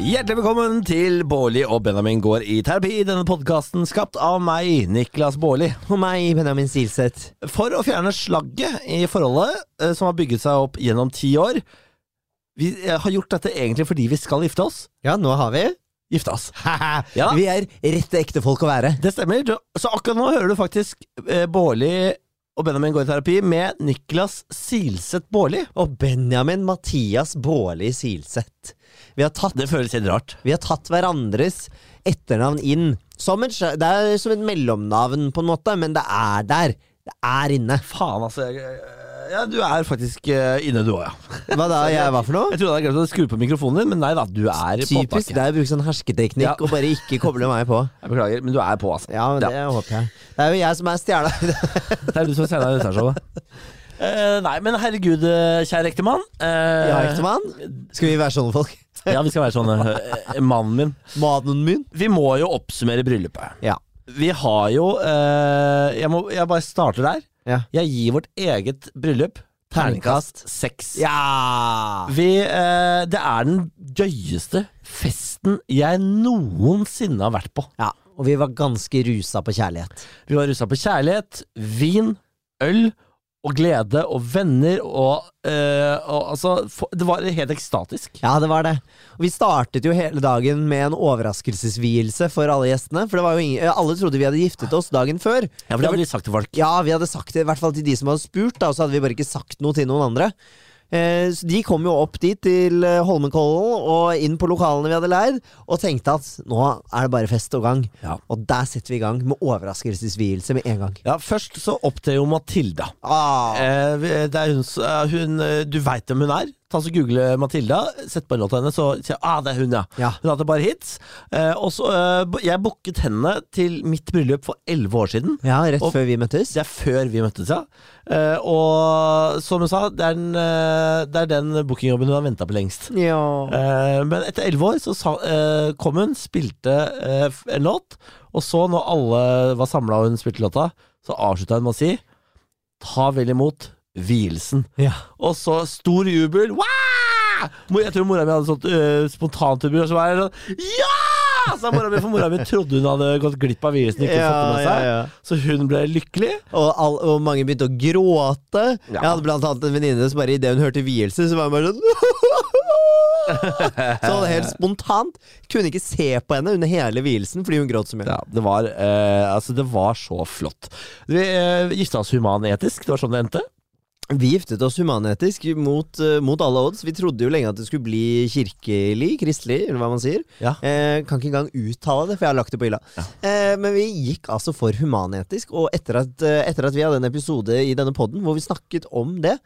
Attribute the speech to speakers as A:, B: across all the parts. A: Hjertelig velkommen til Bårli og Benjamin går i terapi. Denne podkasten skapt av meg, Niklas Bårli.
B: Og meg, Benjamin Silseth.
A: For å fjerne slagget i forholdet eh, som har bygget seg opp gjennom ti år. Vi eh, har gjort dette egentlig fordi vi skal gifte oss.
B: Ja, nå har vi.
A: Gifte oss.
B: ja. Vi er rette ekte folk å være.
A: Det stemmer. Du- Så akkurat nå hører du faktisk eh, Bårli og Benjamin går i terapi med Niklas Silseth Bårli.
B: Og Benjamin Mathias Bårli Silseth. Vi har tatt,
A: Det føles litt rart.
B: vi har tatt hverandres etternavn inn. Som et, sla- det er som et mellomnavn, på en måte, men det er der. Det er inne.
A: Faen, altså. jeg- Ja, du er faktisk eh, inne, du òg, ja.
B: Hva da jeg var for noe?
A: Jeg trodde jeg hadde glemt å skru på mikrofonen din, men nei da, du er på
B: Typisk
A: opptaket.
B: det er å bruke sånn hersketeknikk
A: Ja.
B: og bare ikke koble meg på.
A: Jeg beklager, men du er på, altså.
B: Ja, men det håper jeg. Det er jo jeg som er stjerna.
A: Det er du som stjerna i dette showet. Eh, nei, men herregud, eh, kjære ektemann. Eh,
B: Ja, ektemann. Skal vi være sånne folk?
A: ja, vi skal være sånn eh, Mannen min.
B: Mannen min?
A: Vi må jo oppsummere bryllupet.
B: Ja.
A: Vi har jo eh, jeg, må, jeg bare starter der.
B: Ja.
A: Jeg gir vårt eget bryllup
B: Terningkast.
A: seks.
B: Ja!
A: Vi, eh, det er den gøyeste festen jeg noensinne har vært på.
B: Ja, og vi var ganske rusa på kjærlighet.
A: Vi var russa på kjærlighet, vin, øl og glede og venner og, eh, og altså for, Det var helt ekstatisk.
B: Ja, det var det. Og vi startet jo hele dagen med en overraskelsesvielse for alle gjestene. For det var jo ingen, eh, alle trodde vi hadde giftet oss dagen før.
A: Ja, for det hadde de sagt til folk.
B: Ja, vi hadde sagt det i hvert fall til de som hadde spurt, da, og så hadde vi bare ikke sagt noe til noen andre. Eh, Så de kom jo opp dit til eh, Holmenkollen og inn på lokalene vi hadde leid, og tenkte at nå er det bare fest og gang.
A: Ja. Eh.
B: Og der setter vi i gang med overraskelsesvielse med en gang.
A: Ja, Først så opptrer jo Matilda.
B: Ah,
A: Eh, vi- det er hun, s- eh, hun eh, Du veit hvem hun er. Ta så Google Matilda, sett på en låt av henne, så sier jeg, ah, det er hun, ja.
B: Ja.
A: Hun hadde bare hits. Eh, og så, eh, bo- jeg booket henne til mitt bryllup for elleve år siden.
B: ja, rett
A: og-
B: før vi møttes.
A: Det er før vi møttes, ja. Eh, og som hun sa, det er den, eh, det er den bookingjobben hun har venta på lengst.
B: Ja.
A: Eh, men etter elleve år så sa, eh, kom hun, spilte eh, f- en låt, og så, når alle var samla og hun spilte låta, så avslutta hun med å si Ta vel imot vielsen.
B: ja.
A: Og så stor jubel. Wow! Mo- Jeg tror mora mi hadde sånt uh, spontant jubel, og så var jeg sånn Ja! Sa mora mi, for mora mi trodde hun hadde gått glipp av vielsen. Ikke fått det med seg.
B: ja.
A: Så hun ble lykkelig.
B: Og, all, og mange begynte å gråte.
A: Ja.
B: Jeg hadde blant annet en venninne som bare idet hun hørte vielse, så var hun bare sånn Sånn helt spontant. Kunne ikke se på henne under hele vielsen fordi hun gråt så mye.
A: Ja, det var, eh, altså, det var så flott. Vi eh, gifta oss human-etisk, det var sånn det endte.
B: Vi giftet oss humanetisk mot, eh, mot alle odds. Vi trodde jo lenge at det skulle bli kirkelig, kristelig, eller hva man sier.
A: Ja.
B: Eh, kan ikke engang uttale det, for jeg har lagt det på hylla. Eh, men vi gikk altså for humanetisk, og etter at, eh, etter at vi hadde en episode i denne podden hvor vi snakket om det,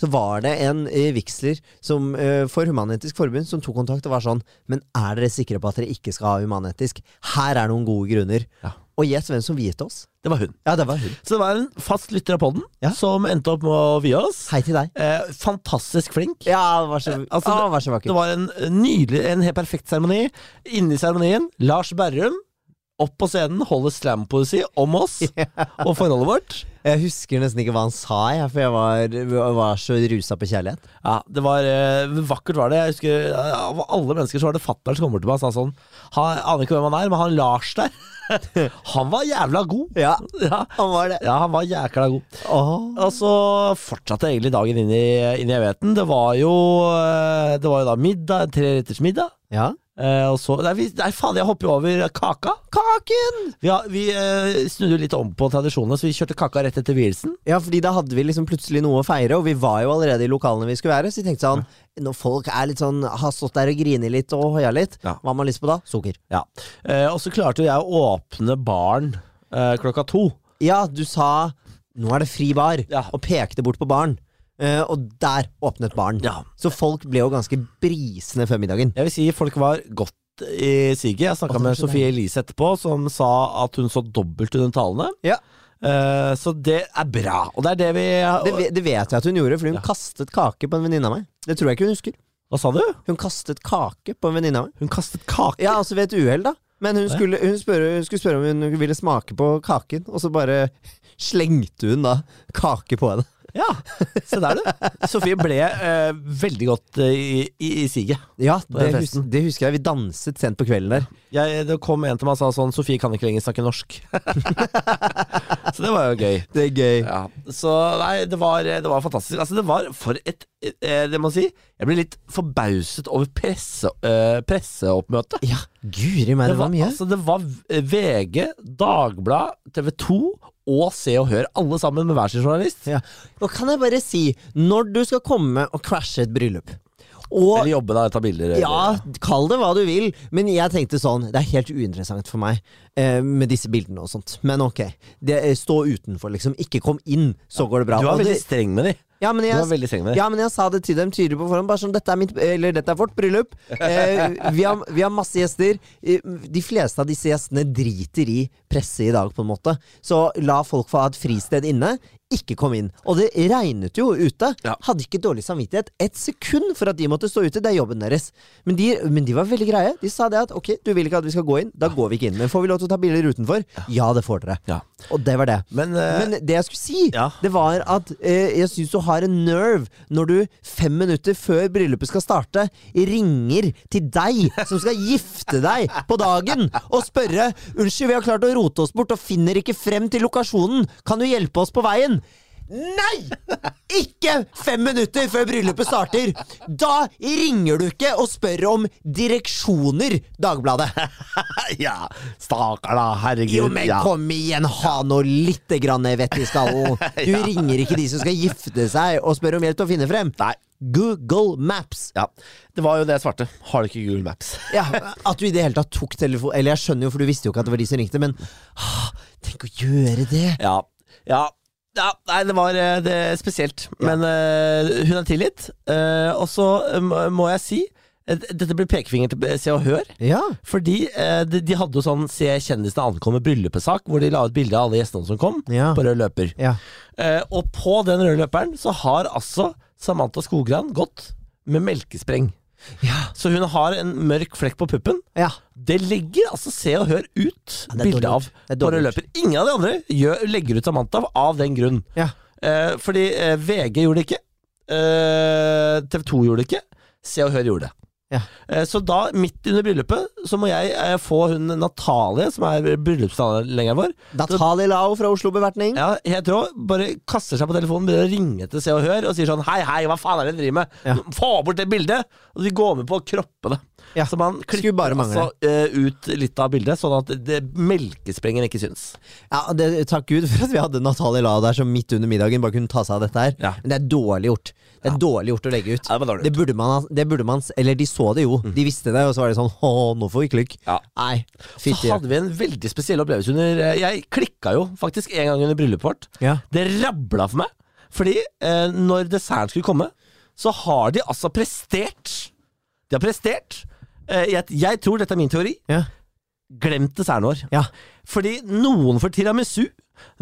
B: så var det en eh, vigsler som, eh, for Human-Etisk Forbund som tok kontakt og var sånn Men er dere sikre på at dere ikke skal ha humanetisk? Her er noen gode grunner.
A: Ja.
B: Og gjett hvem som viet oss?
A: Det var hun.
B: Ja, det var hun.
A: Så det var en fast lytter av podden
B: Ja.
A: som endte opp med å vie oss.
B: Hei til deg.
A: Eh, fantastisk flink.
B: Ja, det var så,
A: altså,
B: ah, det var så
A: Det
B: vakkert.
A: var en eh, nydelig, en helt perfekt seremoni. Inne i seremonien, Lars Berrum opp på scenen, holder slampoesi om oss og forholdet vårt.
B: Jeg husker nesten ikke hva han sa, jeg, for jeg var, var så rusa på kjærlighet.
A: Ja, det var eh, Vakkert var det. Jeg husker eh, Av alle mennesker så var det fatter'n som kommer til meg og sa sånn Han jeg aner ikke hvem han er, men han Lars der, han var jævla god.
B: Ja,
A: Ja,
B: han var det.
A: ja han var jækla god.
B: Åh.
A: Og så Altså, fortsatte egentlig dagen inn i, inn i evigheten. Det var jo eh, Det var jo da middag, en treretters middag.
B: Ja.
A: Eh, og så, nei, vi, nei, faen, jeg hopper jo over kaka.
B: Kaken!
A: Vi, har, vi eh, snudde jo litt om på tradisjonene, så vi kjørte kaka rett etter vielsen.
B: Ja, fordi da hadde vi liksom plutselig noe å feire, og vi var jo allerede i lokalene vi skulle være. Så vi tenkte sånn, når folk er litt sånn, har stått der og griner litt og hoia litt,
A: Ja.
B: hva har man lyst på da? Sukker.
A: Ja. Eh, og så klarte jo jeg å åpne baren eh, klokka to.
B: Ja, du sa 'nå er det fri bar',
A: Ja.
B: og pekte bort på baren. Eh, og der åpnet baren.
A: Ja.
B: Så folk ble jo ganske brisende før middagen.
A: Jeg vil si folk var godt i siget. Jeg snakka
B: Å, det var
A: med
B: så
A: Sofie Elise etterpå, som sa at hun så dobbelt under talene.
B: Ja.
A: Eh, så det er bra. Og det er det vi
B: Det, ve- det vet jeg at hun gjorde, fordi hun kastet kake på en venninne av meg. Det tror jeg ikke hun husker.
A: Hva sa du?
B: Hun kastet kake på en venninne av meg.
A: Hun kastet kake.
B: Ja, altså ved et uhell, da. Men hun skulle, hun, spørre, hun skulle spørre om hun ville smake på kaken, og så bare slengte hun da kake på henne.
A: Ja, se der du. Sofie ble eh, veldig godt eh, i, i, i siget.
B: Ja, det,
A: den
B: hus det husker jeg. Vi danset sent på kvelden der.
A: Jeg, det kom en til meg og sa sånn Sofie kan ikke lenger snakke norsk. så det var jo gøy.
B: Det er gøy.
A: Ja. Så nei, det var, det var fantastisk. Altså, det var for et eh, Det må jeg si. Jeg ble litt forbauset over presse, eh, presseoppmøtet.
B: Ja, guri meg, det var mye.
A: altså, det var VG, Dagbladet, TV 2 og Se og Hør. Alle sammen med hver sin journalist.
B: Ja. Og kan jeg bare si, når du skal komme og crashe et bryllup og
A: Eller jobbe da, ta bilder.
B: ja, kall det hva du vil, men jeg tenkte sånn Det er helt uinteressant for meg eh, med disse bildene og sånt. Men ok, det, eh, stå utenfor, liksom. Ikke kom inn, så går det bra.
A: Du
B: Og
A: var veldig
B: det,
A: streng med de.
B: ja, men
A: Du
B: jeg,
A: var veldig streng med de.
B: Ja, men jeg sa det til dem tydelig på forhånd. Bare sånn, dette er, mitt, eller, dette er vårt bryllup. Eh, vi, har, vi har masse gjester. Eh, De fleste av disse gjestene driter i presse i dag, på en måte. Så la folk få ha et fristed inne. Ikke kom inn. Og det regnet jo ute.
A: Ja.
B: Hadde ikke dårlig samvittighet et sekund for at de måtte stå ute. Det er jobben deres. Men de, men de var veldig greie. De sa det at ok, du vil ikke at vi skal gå inn. Da går vi ikke inn. Men får vi lov til å ta bilder utenfor? Ja, det får dere.
A: Ja.
B: Og det var det.
A: Men, eh,
B: Men det jeg skulle si,
A: Ja.
B: det var at eh, jeg syns du har en nerve når du fem minutter før bryllupet skal starte, ringer til deg som skal gifte deg på dagen, og spørre 'Unnskyld, vi har klart å rote oss bort og finner ikke frem til lokasjonen. Kan du hjelpe oss på veien?' Nei! Ikke fem minutter før bryllupet starter! Da ringer du ikke og spør om direksjoner, Dagbladet.
A: ja. Stakkar, da. Herregud.
B: Jo, men
A: ja.
B: kom igjen, ha nå litt grann vett i skallen. Du ringer ikke de som skal gifte seg og spør om hjelp til å finne frem.
A: Nei.
B: Google Maps.
A: Ja. Det var jo det jeg svarte. Har du ikke Google Maps?
B: Ja, At du i det hele tatt tok telefon Eller jeg skjønner jo, for du visste jo ikke at det var de som ringte, men ah, tenk å gjøre det.
A: Ja. Ja. ja nei, det var eh, det er spesielt. Men eh, hun er tilgitt. Eh, og så eh, må- må jeg si eh, Dette blir pekefinger til eh, Se og Hør.
B: Ja.
A: Fordi eh, de, de hadde jo sånn Se kjendisene ankomme bryllupet-sak, hvor de la ut bilde av alle gjestene som kom,
B: Ja.
A: på rød løper.
B: Ja.
A: Eh, og på den røde løperen så har altså Samantha Skogran gått med melkespreng.
B: Ja.
A: Så hun har en mørk flekk på puppen.
B: ja.
A: Det legger altså Se og Hør ut
B: Ja, det er
A: bilde
B: dårlig
A: av
B: gjort. Det er
A: på
B: dårlig
A: rød løper. Ingen av de andre gjør, legger ut Samantha av den grunn.
B: ja.
A: Eh, fordi eh, VG gjorde det ikke. Eh, TV 2 gjorde det ikke. Se og Hør gjorde det.
B: Ja.
A: Eh, så da, midt under bryllupet, så må jeg eh, få hun Natalie, som er bryllupsanleggeren vår,
B: Natali Lao fra Oslo Bevertning.
A: ja, helt rå, bare kaster seg på telefonen, begynner å ringe til Se og Hør og sier sånn Hei, hei, hva faen er det dere driver med?
B: Ja.
A: Få bort det bildet! Og de går med på å kroppe det.
B: Ja,
A: Så man
B: skulle bare
A: klipper
B: mangle.
A: altså eh, ut litt av bildet, sånn at det, melkesprengen ikke syns.
B: Ja, det, takk Gud for at vi hadde Natali Lao der som midt under middagen bare kunne ta seg av dette her.
A: Ja.
B: Men det er dårlig gjort. Det er dårlig gjort å legge ut.
A: Ja, det var dårlig Mm.
B: Det burde man, ha- det burde man s- Eller de så det jo. De visste det, og så var det sånn Å, nå får vi klikk.
A: Ja.
B: Nei,
A: Så
B: fytti
A: hadde vi en veldig spesiell opplevelse under eh, Jeg klikka jo faktisk en gang under bryllupet vårt.
B: ja.
A: Det rabla for meg. Fordi eh, når desserten skulle komme, så har de altså prestert De har prestert. Eh, jeg, jeg tror, dette er min teori,
B: Ja.
A: glemt desserten vår.
B: ja.
A: Fordi noen får tiramisu,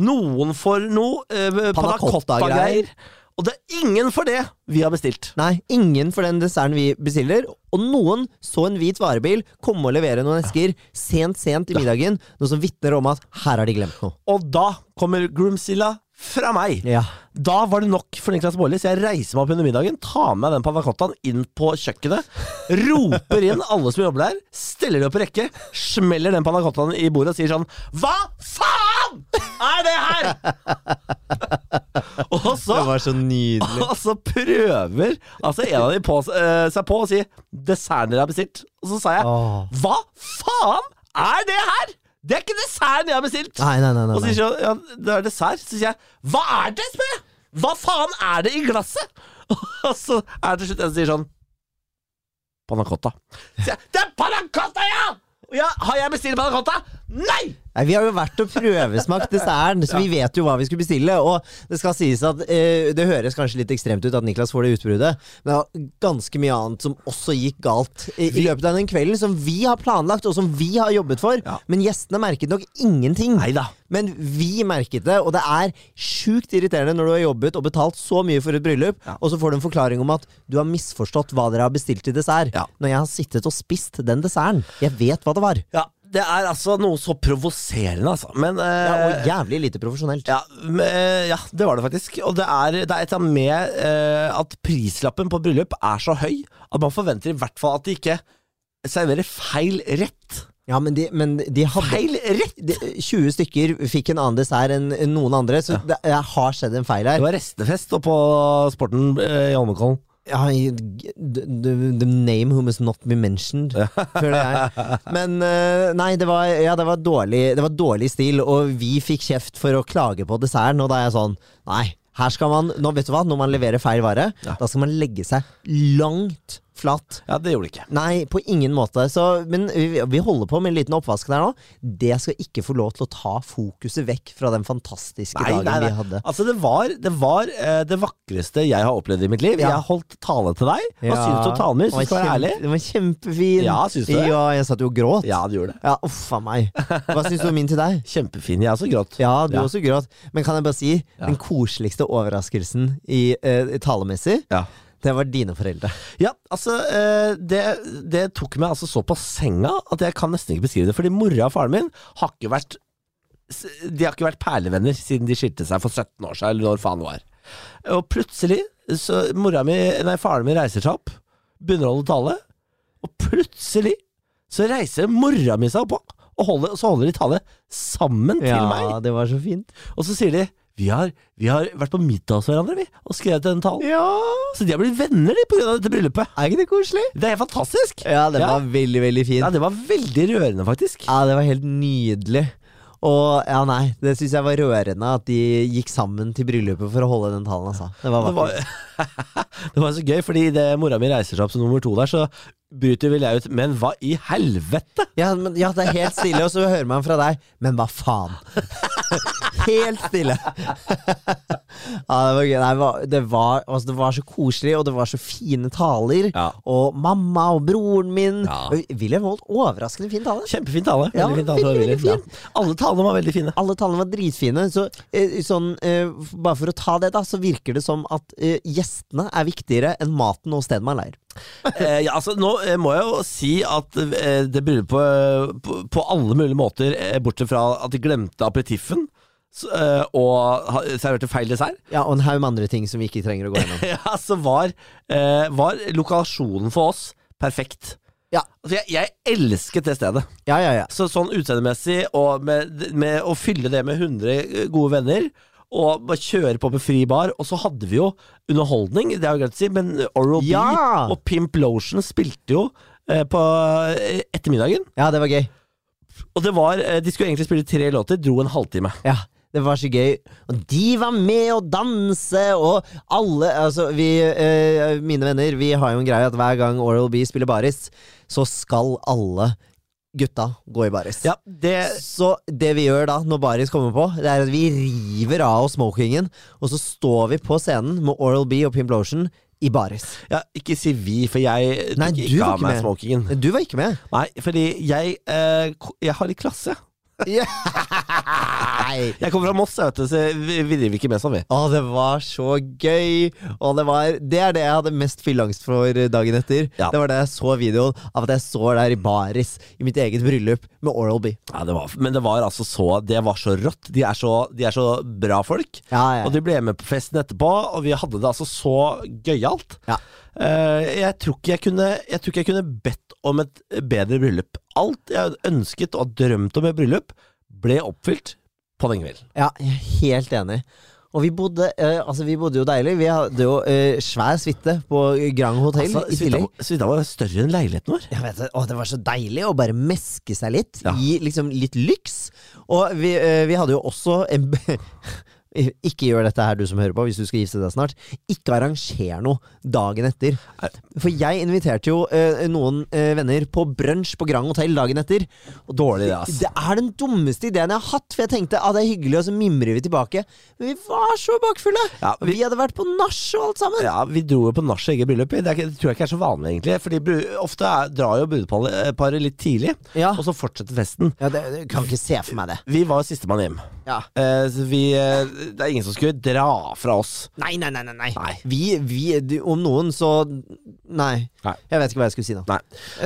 A: noen får noe eh, panna
B: cotta-greier.
A: cotta-greier. Og det er ingen for det vi har bestilt.
B: Nei, ingen for den desserten vi bestiller. Og noen så en hvit varebil komme og levere noen esker sent, sent i middagen. Noe som vitner om at her har de glemt noe.
A: Og da kommer Groomzilla fra meg.
B: Ja.
A: Da var det nok for Niklas Baarli, så jeg reiser meg opp under middagen, tar med den panna cottaen inn på kjøkkenet, roper inn alle som jobber der, steller det opp på rekke, smeller den panna cottaen i bordet og sier sånn Hva faen er det her?! og så
B: Det var så nydelig.
A: Og så prøver altså en av de på, eh, seg på å si 'desserten dere har bestilt'. Og så sa jeg
B: Åh.
A: 'hva faen er det her?! Det er ikke desserten jeg har bestilt!
B: Nei, nei, nei. nei,
A: Og så
B: nei.
A: sier hun ja, det er dessert. Så sier jeg 'hva er det?' spør jeg. 'Hva faen er det i glasset?' Og så er det til slutt en som sier sånn Panna cotta. Så sier jeg 'det er panna cotta, ja!' Og jeg, har jeg bestilt panna cotta? Nei!
B: Nei, Vi har jo vært og prøvesmakt desserten, så vi vet jo hva vi skulle bestille. Og det skal sies at eh, det høres kanskje litt ekstremt ut at Niklas får det utbruddet, men det var ganske mye annet som også gikk galt i, i løpet av den kvelden, som vi har planlagt, og som vi har jobbet for.
A: Ja.
B: Men gjestene merket nok ingenting.
A: Neida.
B: Men vi merket det, og det er sjukt irriterende når du har jobbet og betalt så mye for et bryllup,
A: Ja.
B: og så får du en forklaring om at du har misforstått hva dere har bestilt til dessert.
A: Ja.
B: Når jeg har sittet og spist den desserten. Jeg vet hva det var.
A: Ja, det er altså noe så provoserende, altså. Men eh,
B: Ja, og jævlig lite profesjonelt.
A: Ja, men, eh, ja, det var det faktisk. Og det er, det er et eller annet med eh, at prislappen på bryllup er så høy at man forventer i hvert fall at de ikke serverer feil rett.
B: Ja, men de, men de hadde
A: Feil rett!
B: de, 20 stykker fikk en annen dessert enn enn noen andre, så det jeg har skjedd en feil
A: Det
B: her.
A: var restefest oppe på Sporten eh, i Holmenkollen.
B: Ja, i- d- d- the name who must not be mentioned, føler jeg. Men eh, nei, det var, ja, det, var dårlig, det var dårlig stil, og vi fikk kjeft for å klage på desserten, og da er jeg sånn Nei, her skal man nå, Vet du hva, når man leverer feil vare,
A: Ja.
B: da skal man legge seg langt flatt.
A: Ja, det gjorde de ikke.
B: Nei, på ingen måte. Så, men vi, vi holder på med en liten oppvask der nå. Det skal ikke få lov til å ta fokuset vekk fra den fantastiske dagen vi hadde.
A: Altså, det var, det, var eh, det vakreste jeg har opplevd i mitt liv.
B: Ja.
A: Jeg holdt tale til deg. Hva synes du om talen min?
B: det var
A: Synes du det var ærlig?
B: kjempe- Den var kjempefin.
A: Ja, synes du det?
B: Ja, jeg satt jo og gråt.
A: Ja, det gjorde det.
B: Ja, uff a meg. Hva syns du om min til deg?
A: Kjempefin. Jeg også gråt.
B: Ja, du
A: Ja.
B: også gråt. Men kan jeg bare si, den koseligste overraskelsen i eh, talemessig,
A: Ja.
B: det var dine foreldre.
A: Ja, altså eh, det, det tok meg altså så på senga at jeg kan nesten ikke beskrive det. Fordi mora og faren min har ikke vært s- De har ikke vært perlevenner siden de skilte seg for 17 år siden, eller når faen det var. Og plutselig så mora mi, nei, faren min reiser seg opp, begynner å holde tale, og plutselig så reiser mora mi seg opp og holder, og så holder de tale sammen til meg.
B: Ja, det var så fint.
A: Og så sier de vi har, vi har vært på middag hos hverandre, vi, og skrevet den talen.
B: Ja,
A: Så de har blitt venner, de, på grunn av dette bryllupet.
B: Er ikke det koselig?
A: Det er helt fantastisk!
B: Ja, den
A: Ja.
B: var veldig, veldig fin.
A: Ja, det var veldig rørende, faktisk.
B: Ja, det var helt nydelig. Og ja, nei, det syns jeg var rørende at de gikk sammen til bryllupet for å holde den talen, altså. Det var
A: Det var,
B: vakkert.
A: det var så gøy, fordi idet mora mi reiser seg opp som nummer to der, så bryter vel jeg ut Men hva i helvete?!
B: Ja, men, ja, det er helt stille, og så hører man fra deg Men hva faen? helt stille. ja, det var gøy. Nei, det var- det, var, altså, det var så koselig, og det var så fine taler.
A: Ja.
B: Og mamma og broren min
A: Ja.
B: Og William holdt overraskende fin tale.
A: Kjempefin tale.
B: Ja,
A: Veldig fin tale fra
B: veldig,
A: Willy.
B: veldig fin.
A: Ja. Alle talene var veldig fine.
B: Alle tallene var dritfine. Så, eh, sånn, eh, f- bare for å ta det, da, så virker det som at eh, gjestene er viktigere enn maten og stedet man leier.
A: Eh, ja, altså, nå eh, må jeg jo si at eh, det bryllupet på, på alle mulige måter, eh, bortsett fra at de glemte aperitiffen så, eh, og ha- serverte feil dessert,
B: Ja, og en haug med andre ting som vi ikke trenger å gå gjennom.
A: ja, så var, eh, var lokasjonen for oss perfekt.
B: Ja.
A: Altså, jeg, jeg elsket det stedet.
B: Ja, ja, ja.
A: Så sånn utseendemessig, og med, med å fylle det med 100 gode venner, og bare kjøre på med fri bar. Og så hadde vi jo underholdning, det har jeg glemt å si, men Oral
B: Ja!
A: B og Pimp Lotion spilte jo eh, på eh, ettermiddagen.
B: Ja, det var gøy.
A: Og det var, eh, de skulle egentlig spille tre låter, dro en halvtime.
B: Ja, det var så gøy. Og de var med å danse, og alle Altså, vi eh, Mine venner, vi har jo en greie at hver gang Oral B spiller baris, så skal alle gutta gå i baris.
A: Ja, det
B: Så det vi gjør da, når Baris kommer på, det er at vi river av oss smokingen, og så står vi på scenen med Oral B og Pimp Lotion i Baris.
A: ja, Ikke si vi, for jeg
B: Nei,
A: tok
B: du
A: ikke
B: var
A: av
B: ikke
A: meg
B: med.
A: smokingen.
B: Du var ikke med.
A: Nei, fordi jeg, eh, ko- jeg har litt klasse.
B: Nei.
A: Jeg kommer fra Moss, jeg vet du, så vi, vi driver ikke med sånn, vi.
B: Å, det var så gøy! Og det, var, det er det jeg hadde mest fylleangst for dagen etter.
A: Ja.
B: Det var da jeg så videoen av at jeg står der i baris i mitt eget bryllup med Oral B.
A: Ja, det var, men det var altså så Det var så rått. De er så, de er så bra folk.
B: Ja, ja.
A: Og de ble med på festen etterpå, og vi hadde det altså så gøyalt.
B: Ja.
A: Eh, jeg, tror ikke jeg, kunne, jeg tror ikke jeg kunne bedt om et bedre bryllup. Alt jeg ønsket og drømte om i bryllup, ble oppfylt på den kvelden.
B: Ja, jeg er helt enig. Og vi bodde, eh, altså vi bodde jo deilig. Vi hadde jo eh, svær suite på Grand Hotel
A: Altså,
B: i tillegg.
A: suita- Suita var større enn leiligheten vår.
B: Jeg vet, det. å, det var så deilig å bare meske seg litt
A: Ja.
B: i liksom litt lyks. Og vi, eh, vi hadde jo også en b- Ikke gjør dette her, du som hører på, hvis du skal gifte deg snart. Ikke arranger noe dagen etter.
A: Nei.
B: For jeg inviterte jo eh, noen eh, venner på brunsj på Grand Hotel dagen etter. Og
A: Dårlig,
B: det,
A: det, ass.
B: det er den dummeste ideen jeg har hatt, for jeg tenkte ah, det er hyggelig, og så mimrer vi tilbake. Men vi var så bakfulle!
A: Ja,
B: vi, hadde vært på nach og alt sammen.
A: Ja, Vi dro jo på nach i eget bryllup. Det, er, ikke- det tror jeg ikke er så vanlig, egentlig. Fordi bru- ofte er, drar jo brudeparet litt tidlig,
B: Ja.
A: og så fortsetter festen.
B: Ja, det, det kan ikke se for meg det.
A: Vi var jo sistemann hjem.
B: Ja.
A: Eh, så vi eh, det er ingen som skulle dra fra oss.
B: Nei, nei, nei, nei. nei.
A: Nei.
B: Vi, vi, du, om noen, så nei.
A: Nei.
B: Jeg vet ikke hva jeg skulle si nå.
A: Nei.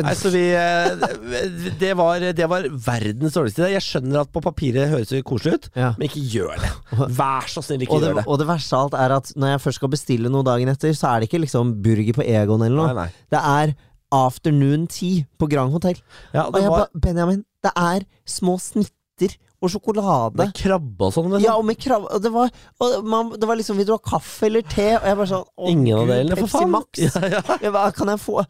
A: Nei, så vi eh, Det var, det var verdens dårligste idé. Jeg skjønner at på papiret høres det koselig ut,
B: Ja.
A: men ikke gjør det. Vær så snill, ikke
B: Og det,
A: gjør det.
B: og det verste av alt er at når jeg først skal bestille noe dagen etter, så er det ikke liksom burger på Egon eller noe.
A: Nei, nei.
B: Det er afternoon tea på Grand Hotel.
A: Ja,
B: Og
A: det
B: jeg
A: var
B: ba, Benjamin, det er små snitter og sjokolade.
A: med krabbe og sånn. liksom.
B: Ja, og med krav og det, var, og man, det var liksom Vil du ha kaffe eller te? Og jeg bare sånn å,
A: Ingen av
B: Gud,
A: delene, for
B: Pepsi
A: faen.
B: Max.
A: Ja, ja.
B: Jeg bare, kan jeg få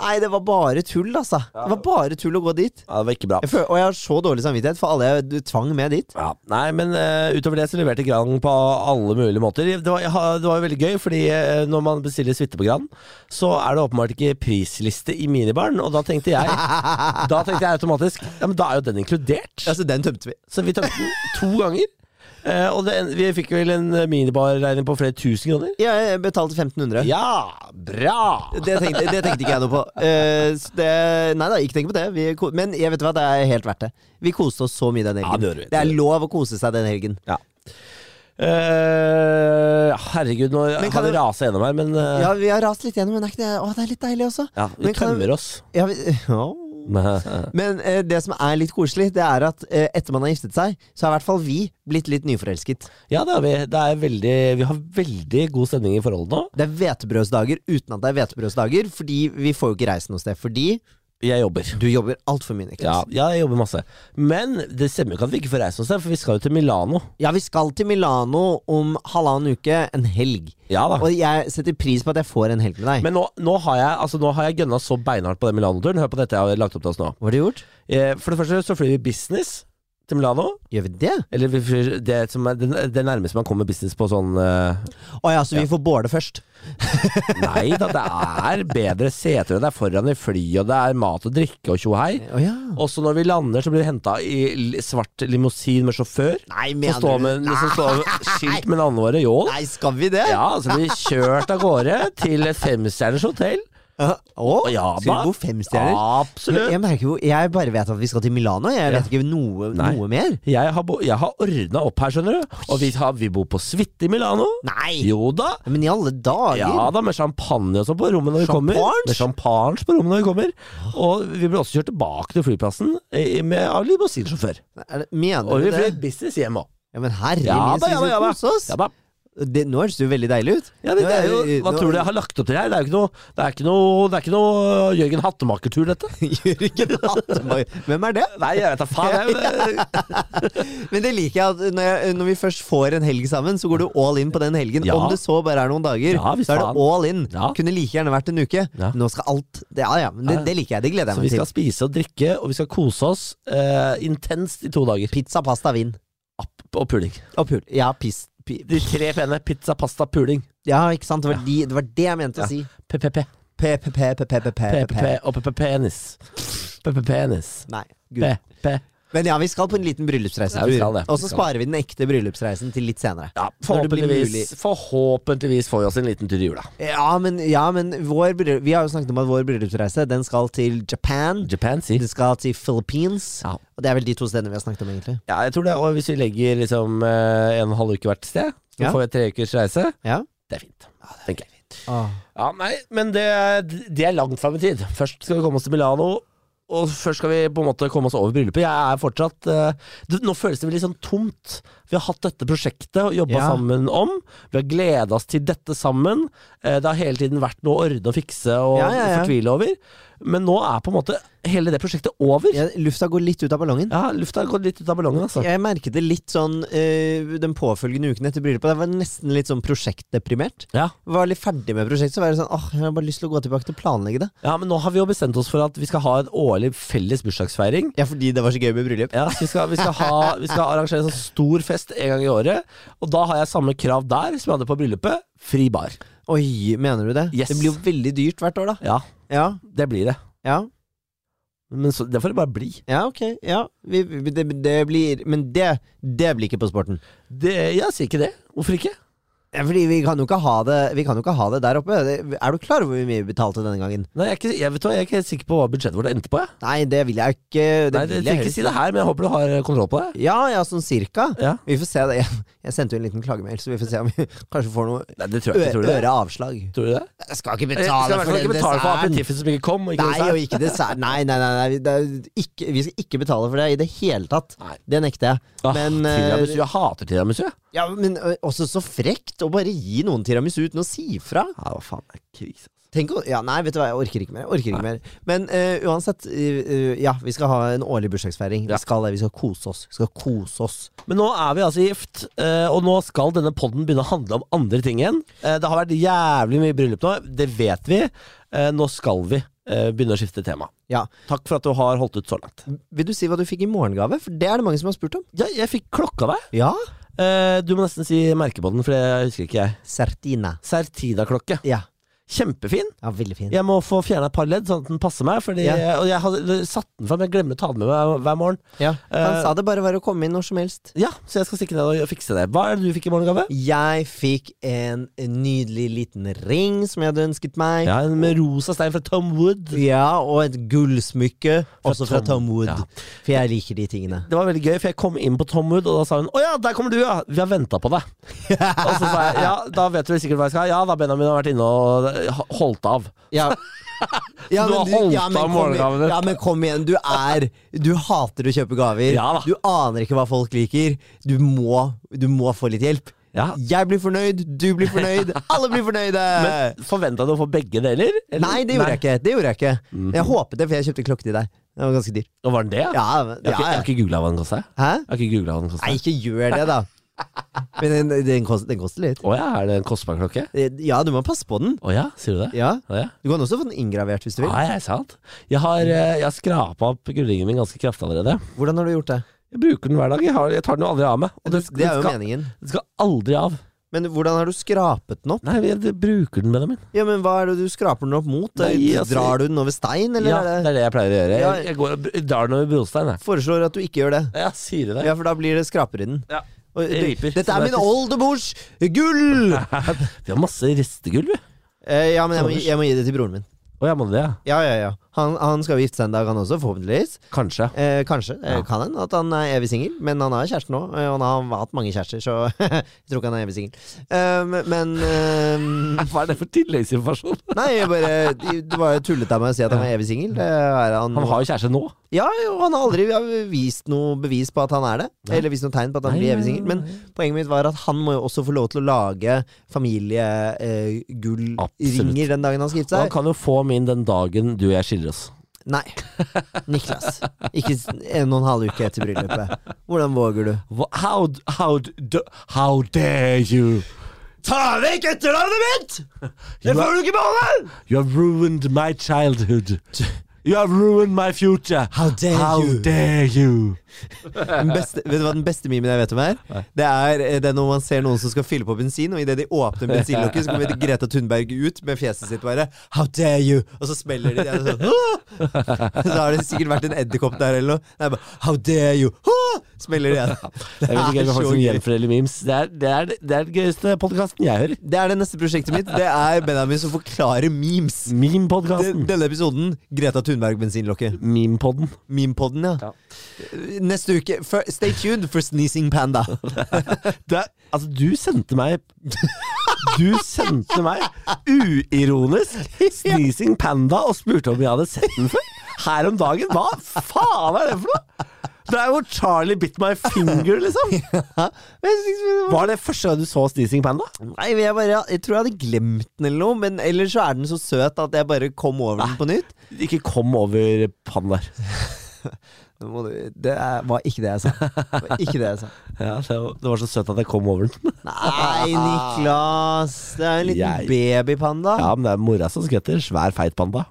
B: Nei, det var bare tull, altså. Det var bare tull å gå dit.
A: ja, det var ikke bra.
B: Jeg føl, og jeg har så dårlig samvittighet for alle jeg du tvang med dit.
A: Ja, nei, men eh, utover det så leverte Grand på alle mulige måter. Det var, ja, det var jo veldig gøy, fordi eh, når man bestiller suite på Grand, så er det åpenbart ikke prisliste i minibaren, og da tenkte jeg Da tenkte jeg automatisk Ja, men da er jo den inkludert.
B: Altså, den tømte vi.
A: Så vi tømte den to ganger. Eh, og det, vi fikk vel en minibarregning på flere tusen kroner.
B: Ja, jeg betalte 1500.
A: Ja, bra!
B: Det, tenkte, det tenkte ikke jeg noe på. Eh, så det, nei da, ikke tenk på det. Vi, ko- men jeg vet hva, det er helt verdt det. Vi koste oss så mye den
A: Ja,
B: helgen.
A: det gjorde vi.
B: det er lov å kose seg den helgen.
A: Ja. Eh, herregud, nå
B: Men
A: har
B: kan
A: vi
B: jeg-
A: rasa gjennom her, men eh,
B: Ja, vi har rast litt gjennom, men er ikke det, å, det er litt deilig også.
A: ja, vi
B: men kan-
A: tømmer oss.
B: Ja, vi, ja. Men eh, det som er litt koselig, det er at eh, etter man har giftet seg, så har i hvert fall vi blitt litt nyforelsket.
A: Ja, det har vi. Det er veldig, vi har veldig god stemning i forholdet nå.
B: Det er hvetebrødsdager uten at det er hvetebrødsdager, fordi vi får jo ikke reist noe sted. Fordi
A: Jeg jobber.
B: du jobber altfor mye, Niklas.
A: Ja, ja, jeg jobber masse. Men det stemmer jo ikke at vi ikke får reist oss, for vi skal jo til Milano.
B: Ja, vi skal til Milano om halvannen uke, en helg.
A: Ja da.
B: Og jeg setter pris på at jeg får en helg med deg.
A: Men nå, nå, har jeg, altså, nå har jeg gønna så beinhardt på den Milano-turen. Hør på dette jeg har lagt opp til oss nå.
B: Hva har du gjort?
A: Eh, For det første så flyr vi business til Milano.
B: Gjør vi det?
A: Eller vi flyr det, som er, det, det nærmeste man kommer business på sånn eh,
B: Å ja, så vi får båle først.
A: Nei da, det er bedre seter, og det er foran i fly, og det er mat og drikke og tjo og hei.
B: Å ja.
A: Og så når vi lander, så blir vi henta i l- svart limousin med sjåfør.
B: Nei,
A: Som står med, som står med skilt med navnet våre, jo.
B: Nei, skal vi det?
A: Ja, så blir vi kjørt av gårde til et femstjerners hotell.
B: Å,
A: ja,
B: skal
A: ba-
B: vi bo femstjerner?
A: Absolutt.
B: Jeg, merker jo, jeg bare vet at vi skal til Milano. Jeg vet ikke noe,
A: Nei.
B: noe mer.
A: Jeg har, bo- jeg har ordna opp her, skjønner du. Og vi, har, vi bor på suite i Milano.
B: Nei!
A: Jo da.
B: Men i alle dager!
A: Ja da, med champagne og sånn på rommet når vi kommer.
B: Champagne?
A: Med champagne på rommet når vi kommer. Og vi ble også kjørt tilbake til flyplassen eh, med av limousinsjåfør.
B: Er det- Mener
A: Og
B: du
A: vi
B: det?
A: fløy business hjem òg.
B: Ja, men herre
A: Ja
B: min,
A: da, ja
B: skal vi
A: da, ja da.
B: kose oss?
A: Ja, da.
B: Det, nå høres det jo veldig deilig ut.
A: ja, men det er jo, hva
B: Nå-
A: tror du jeg har lagt opp til her? Det er jo ikke noe, det er ikke noe, det er ikke noe øh, Jørgen Hattemaker-tur, dette.
B: Jørgen Hattemark Hvem er det?
A: Nei, jeg vet da faen. Jeg, eh,
B: Men det liker jeg at når, jeg, når vi først får en helg sammen, så går du all in på den helgen.
A: Ja.
B: Om det så bare er noen dager,
A: Ja, hvis
B: så er det
A: faen.
B: all in.
A: Ja.
B: Kunne like gjerne vært en uke.
A: Ja.
B: Nå skal alt det, Ja ja, men det, det liker jeg. Det gleder jeg
A: så vi
B: meg
A: skal
B: til.
A: spise og drikke, og vi skal kose oss eh, intenst i to dager.
B: Pizza, pasta, vin.
A: App og puling.
B: Og pul. Ja, pis, pi,
A: De tre pene. Pizza, pasta, puling.
B: ja, ikke sant? Det var, de, det var det jeg mente
A: Ja.
B: å si.
A: PPP. PPP
B: P-p-p-p-p-p-p.
A: og PPP-penis. PPP-penis.
B: Nei, gud.
A: PP.
B: Men ja, vi skal på en liten bryllupsreise.
A: Ja, vi skal det.
B: og
A: Vi
B: så
A: skal
B: sparer vi den ekte bryllupsreisen til litt senere.
A: Ja,
B: Når det blir mulig.
A: forhåpentligvis, forhåpentligvis får vi oss en liten tur i jula.
B: Ja, men, ja, men vår, bryll- vi har jo snakket om at vår bryllupsreise Den skal til Japan.
A: Japan, si.
B: Den skal til Philippines.
A: Ja.
B: Og det er vel de to stedene vi har snakket om, egentlig.
A: Ja, jeg tror det. Og hvis vi legger liksom eh, en og en halv uke hvert sted, så
B: Ja.
A: får vi tre ukers reise.
B: Ja?
A: Det er fint. tenker jeg. Ja, nei, men det, det er langt fram i tid. Først skal vi komme oss til Milano. Og først skal vi på en måte komme oss over bryllupet. Jeg er fortsatt eh, du, Nå føles det veldig sånn tomt. Vi har hatt dette prosjektet og jobba
B: Ja.
A: sammen om. Vi har gleda oss til dette sammen. Eh, det har hele tiden vært noe å ordne og fikse og
B: Ja, ja, ja.
A: fortvile over. Men nå er på en måte hele det prosjektet over.
B: Ja, lufta går litt ut av ballongen.
A: Ja, lufta har gått litt ut av ballongen, altså.
B: Jeg merket det litt sånn eh, den påfølgende uken etter bryllupet. Jeg var nesten litt sånn prosjektdeprimert.
A: Ja.
B: Var litt ferdig med prosjektet, så var jeg sånn åh, jeg har bare lyst til å gå tilbake til å planlegge det.
A: ja, men nå har vi jo bestemt oss for at vi skal ha en årlig felles bursdagsfeiring.
B: Ja, fordi det var så gøy med bryllup.
A: Ja, så vi skal, vi, skal ha, vi skal arrangere en sånn stor fest en gang i året, og da har jeg samme krav der som jeg hadde på bryllupet. Fri bar.
B: Oi, mener du det?
A: Yes.
B: Det blir jo veldig dyrt hvert år, da.
A: Ja,
B: Ja,
A: det blir det.
B: ja,
A: Men så, det får det bare bli.
B: ja ok. Ja. Vi, vi- det, det blir Men det, det blir ikke på sporten.
A: Det, jeg sier ikke det. Hvorfor ikke?
B: Ja, Fordi vi kan, jo ikke ha det, vi kan jo ikke ha det der oppe. Det- Er du klar over hvor mye vi betalte denne gangen?
A: Nei, jeg er, ikke, jeg, vet du, hva, jeg er ikke helt sikker på hva budsjettet vårt endte på. Jeg.
B: Nei, det vil jeg ikke. Det
A: Nei,
B: vil
A: jeg
B: jeg
A: skal ikke
B: helst.
A: si det her, men jeg håper du har eh, kontroll på det.
B: Ja, ja, sånn cirka.
A: Ja.
B: Vi får se det. Jeg, jeg sendte jo en liten klagemail, så vi får se om vi kanskje får noe
A: Nei, det tror jeg ikke. Tror du det?
B: øreavslag.
A: Tror du det?
B: Jeg skal ikke
A: Jeg skal i hvert
B: betale for
A: fall
B: den
A: ikke betale for
B: desserten.
A: aperitiffen som ikke kom. Og ikke
B: Nei,
A: dessert.
B: og ikke dessert. Nei, nei, nei, nei. Det er ikke, vi skal ikke betale for det i det hele tatt.
A: Nei.
B: Det nekter jeg.
A: Ah,
B: Men,
A: tiramisu,
B: eh,
A: jeg hater tiramisu. jeg.
B: ja, men ø, også så frekt å bare gi noen tiramisu uten å si fra.
A: Ja, hva faen det er krise.
B: Tenk å, ja, Nei, vet du hva, jeg orker ikke mer. Jeg orker ikke mer. Men eh, uansett, eh, eh, ja, vi skal ha en årlig bursdagsfeiring.
A: Ja.
B: Vi skal det, vi skal kose oss. Vi skal kose oss.
A: Men nå er vi altså gift, eh, og nå skal denne podden begynne å handle om andre ting igjen. Eh, Det har vært jævlig mye bryllup nå, det vet vi. Eh, Nå skal vi eh, begynne å skifte tema.
B: Ja.
A: Takk for at du har holdt ut så langt.
B: Vil du si hva du fikk i morgengave? For det er det mange som har spurt om.
A: Ja, jeg fikk klokka av deg.
B: Ja,
A: Eh, Du må nesten si merket på den, for det husker ikke jeg.
B: Sertina.
A: Certida-klokke.
B: Ja,
A: Kjempefin.
B: ja veldig fin.
A: Jeg må få fjerna et par ledd, sånn at den passer meg. Fordi,
B: Ja.
A: Og jeg hadde satt den fram, jeg glemmer å ta den med meg hver morgen.
B: Ja. Han
A: Eh,
B: sa det bare var å komme inn når som helst.
A: Ja, Så jeg skal stikke ned og fikse det. Hva er det du fikk i morgengave?
B: Jeg fikk en nydelig liten ring som jeg hadde ønsket meg.
A: Ja, en med rosa stein fra Tom Wood.
B: Ja, og et gullsmykke, også fra
A: Tom-
B: Tom Wood.
A: ja.
B: For jeg liker de tingene.
A: Det var veldig gøy, for jeg kom inn på Tom Wood, og da sa hun 'Å ja, der kommer du, ja! Vi har venta på deg'. og så sa jeg 'Ja, da vet du sikkert hva jeg skal ha'. Ja da, Benjamin har vært inne og eh, ha- holdt av.
B: Ja.
A: Du har holdt av
B: men kom i-
A: morgengaven din.
B: Ja, men kom igjen. Du er Du hater å kjøpe gaver.
A: Ja da.
B: Du aner ikke hva folk liker. Du må, du må få litt hjelp.
A: Ja.
B: Jeg blir fornøyd, du blir fornøyd, alle blir fornøyde!
A: Men forventa du å få begge deler? eller?
B: Nei, det gjorde jeg ikke. Det gjorde jeg ikke.
A: Mhm.
B: Jeg håpet det, for jeg kjøpte klokke til deg. Den var ganske dyr.
A: Og var den det?
B: Ja, men-
A: Jeg har ikke, jeg
B: ja,
A: har ikke googla hva den kosta. Jeg
B: Hæ?
A: har ikke googlet hva den kosta.
B: Nei, ikke gjør det, da. Men den, den, koster, den koster litt.
A: Å ja, er det en kostbar klokke?
B: Eh, Ja, du må passe på den.
A: Å ja, sier du det?
B: Ja.
A: Å ja.
B: Du kan også få den inngravert hvis du vil.
A: Nei, er det sant? Jeg har, eh, jeg har skrapa opp gullringen min ganske kraftig allerede.
B: Hvordan har du gjort det?
A: Jeg bruker den hver dag. Jeg, har, jeg tar den jo aldri av meg. Og
B: Det,
A: det,
B: det er jo
A: skal,
B: meningen.
A: det skal aldri av.
B: Men hvordan har du skrapet den opp?
A: Nei, jeg, jeg bruker den, Benjamin.
B: Ja, men Hva er det du skraper den opp mot?
A: Nei, altså-
B: Drar du den over stein, eller
A: Ja,
B: er
A: det er det jeg pleier å gjøre.
B: Ja.
A: Jeg, jeg går og br- drar den over brostein. jeg.
B: det Foreslår at du ikke gjør det.
A: Ja, sier du det?
B: Ja, for da blir det skraper i den.
A: Ja.
B: Og,
A: Det
B: du,
A: riper,
B: dette
A: som
B: er
A: det
B: min
A: heter.
B: oldemors gull!
A: Vi har masse restegulv, vi.
B: Eh, ja, men jeg må, gi- jeg må gi det til broren min.
A: Å, jeg må det, ja.
B: Ja, ja, ja. Han, han skal jo gifte seg en dag, han også, forhåpentligvis.
A: Kanskje.
B: Eh, kanskje.
A: Ja.
B: Eh, kan hende at han er evig singel, men han har kjæreste nå. eh, Og han har hatt mange kjærester, så jeg tror ikke han er evig singel. Um, men um,
A: Hva er det for tilleggsinformasjon?
B: Nei, jeg bare, det var jo tullete av meg å si at han var evig singel. Det er han.
A: Han har jo kjæreste nå.
B: Ja, jo, han har aldri vist noe bevis på at han er det.
A: Nei.
B: Eller vist noe tegn på at han
A: Nei,
B: blir evig
A: nei,
B: singel. Men poenget mitt var at han må jo også få lov til å lage familiegullringer
A: Absolutt.
B: ringer den dagen han skal
A: Og
B: gifte
A: han
B: seg.
A: kan jo få min den dagen du og jeg skiller oss.
B: Nei. Niklas. Ikke s- en og en halv uke etter bryllupet. Hvordan våger du?
A: Hva- How, d- how, d- d- how dare you?
B: Ta vekk etternavnet mitt!
A: Det får
B: du ikke beholde!
A: You have ruined my childhood. You have ruined my future.
B: How dare you?
A: dare you?
B: Den beste, vet du hva den beste memen jeg vet om er? Det er eh, det er når man ser noen som skal fylle på bensin, og idet de åpner bensinlokket, så kommer Greta Thunberg ut med fjeset sitt bare How dare you! Og så smeller de. Det er sånn, «Åh!» så har det sikkert vært en edderkopp der eller noe. Det er bare How dare you! Åh!» Smeller de igjen.
A: Jeg vet ikke om
B: Det er
A: jeg
B: så
A: folk som
B: gøy.
A: gjenfordeler memes. Det er, det er, det er den gøyeste podkasten jeg hører.
B: Det er det neste prosjektet mitt. Det er Benjamin som forklarer memes. Den-
A: Meme-podkasten.
B: Denne episoden Greta Thunberg-bensinlokket.
A: Meme-podden.
B: Memepodden, ja. Neste uke før- Stay tuned for Sneezing Panda.
A: Det er, altså, du sendte meg Du sendte meg uironisk Sneezing Panda og spurte om jeg hadde sett den før. Her om dagen. Hva faen er det for noe? Det er jo Charlie bit my finger, liksom. Var det første gang du så Sneezing Panda?
B: Nei, men jeg, bare, jeg tror jeg hadde glemt den eller noe, men ellers så er den så søt at jeg bare kom over den på nytt.
A: Ikke kom over pandaer.
B: Nå må du- Det er, var ikke det jeg sa. Det var ikke det jeg sa.
A: Ja, det var- det var så søtt at jeg kom over den.
B: Nei, Niklas! Det er en liten
A: Jeg-
B: babypanda.
A: Ja, men det er mora som skvetter. Svær, feit panda.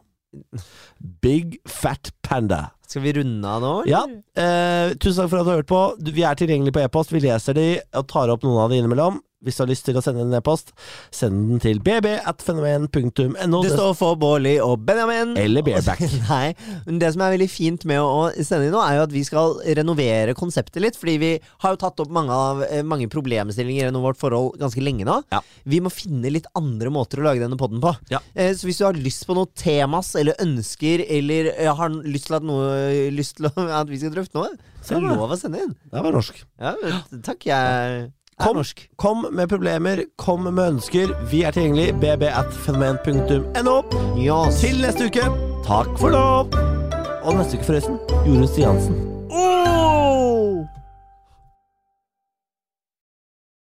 A: Big fat panda.
B: Skal vi runde av nå? eller?
A: Ja, eh, tusen takk for at du har hørt på. Du- Vi er tilgjengelige på e-post. Vi leser de og tar opp noen av de innimellom. Hvis du har lyst til å sende en e-post, send den til bb.fenomen.no.
B: Det står for Bårli og Benjamin.
A: Eller Bareback.
B: Nei, men Det som er veldig fint med å sende inn nå, er jo at vi skal renovere konseptet litt. Fordi vi har jo tatt opp mange, av, eh, mange problemstillinger gjennom vårt forhold ganske lenge nå.
A: Ja.
B: Vi må finne litt andre måter å lage denne podden på.
A: Ja.
B: Eh, Så hvis du har lyst på noe temas eller ønsker, eller eh, har lyst til at, noe, lyst til å- at vi skal drøfte noe, så er det
A: Ja.
B: lov å sende inn.
A: Det var norsk.
B: Ja, men takk. Jeg er
A: Kom.
B: norsk.
A: Kom med problemer, kom med ønsker. Vi er tilgjengelig. bb.fenomen.no.
B: Yes.
A: Til neste uke, takk for nå! Og neste uke, forresten, Jorunn Stiansen.
B: Oh!